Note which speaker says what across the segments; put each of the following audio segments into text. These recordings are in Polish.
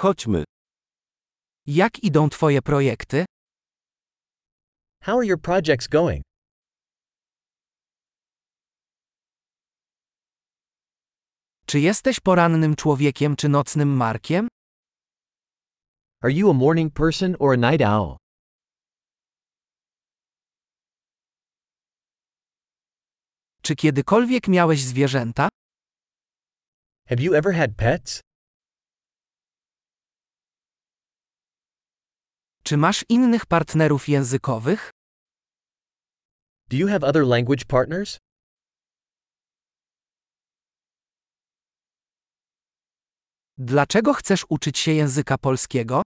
Speaker 1: Chodźmy. Jak idą Twoje projekty?
Speaker 2: How are your projects going?
Speaker 1: Czy jesteś porannym człowiekiem czy nocnym markiem?
Speaker 2: Are you a morning person or a night owl?
Speaker 1: Czy kiedykolwiek miałeś zwierzęta?
Speaker 2: Have you ever had pets?
Speaker 1: Czy masz innych partnerów językowych?
Speaker 2: Do you have other language partners?
Speaker 1: Dlaczego chcesz uczyć się języka polskiego?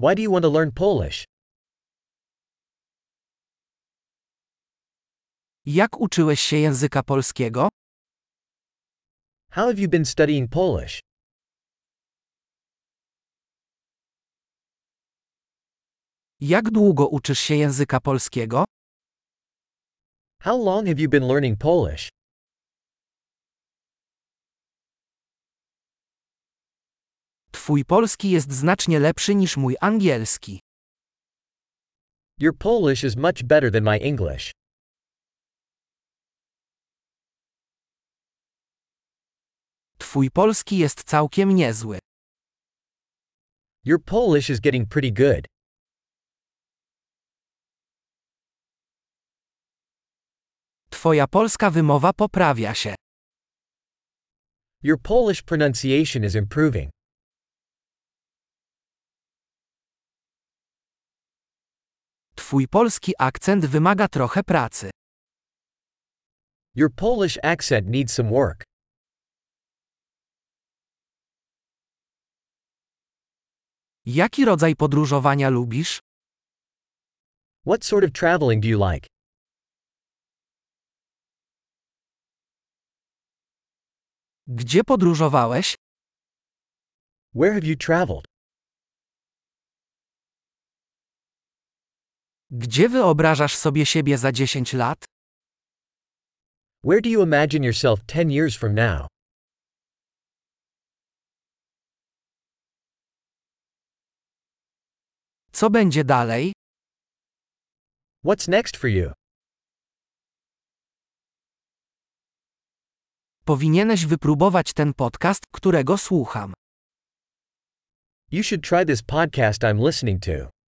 Speaker 2: Why do you want to learn Polish?
Speaker 1: Jak uczyłeś się języka polskiego?
Speaker 2: How have you been studying Polish?
Speaker 1: Jak długo uczysz się języka polskiego?
Speaker 2: How long have you been learning Polish?
Speaker 1: Twój polski jest znacznie lepszy niż mój angielski.
Speaker 2: Your Polish is much better than my English.
Speaker 1: Twój polski jest całkiem niezły.
Speaker 2: Your Polish is getting pretty good.
Speaker 1: Twoja polska wymowa poprawia się.
Speaker 2: Your Polish pronunciation is improving.
Speaker 1: Twój polski akcent wymaga trochę pracy.
Speaker 2: Your Polish accent needs some work.
Speaker 1: Jaki rodzaj podróżowania lubisz?
Speaker 2: What sort of traveling do you like?
Speaker 1: Gdzie podróżowałeś?
Speaker 2: Where have you traveled?
Speaker 1: Gdzie wyobrażasz sobie siebie za 10 lat?
Speaker 2: Where do you imagine yourself 10 years from now?
Speaker 1: Co będzie dalej?
Speaker 2: What's next for you?
Speaker 1: Powinieneś wypróbować ten podcast, którego słucham.
Speaker 2: You should try this podcast I'm listening to.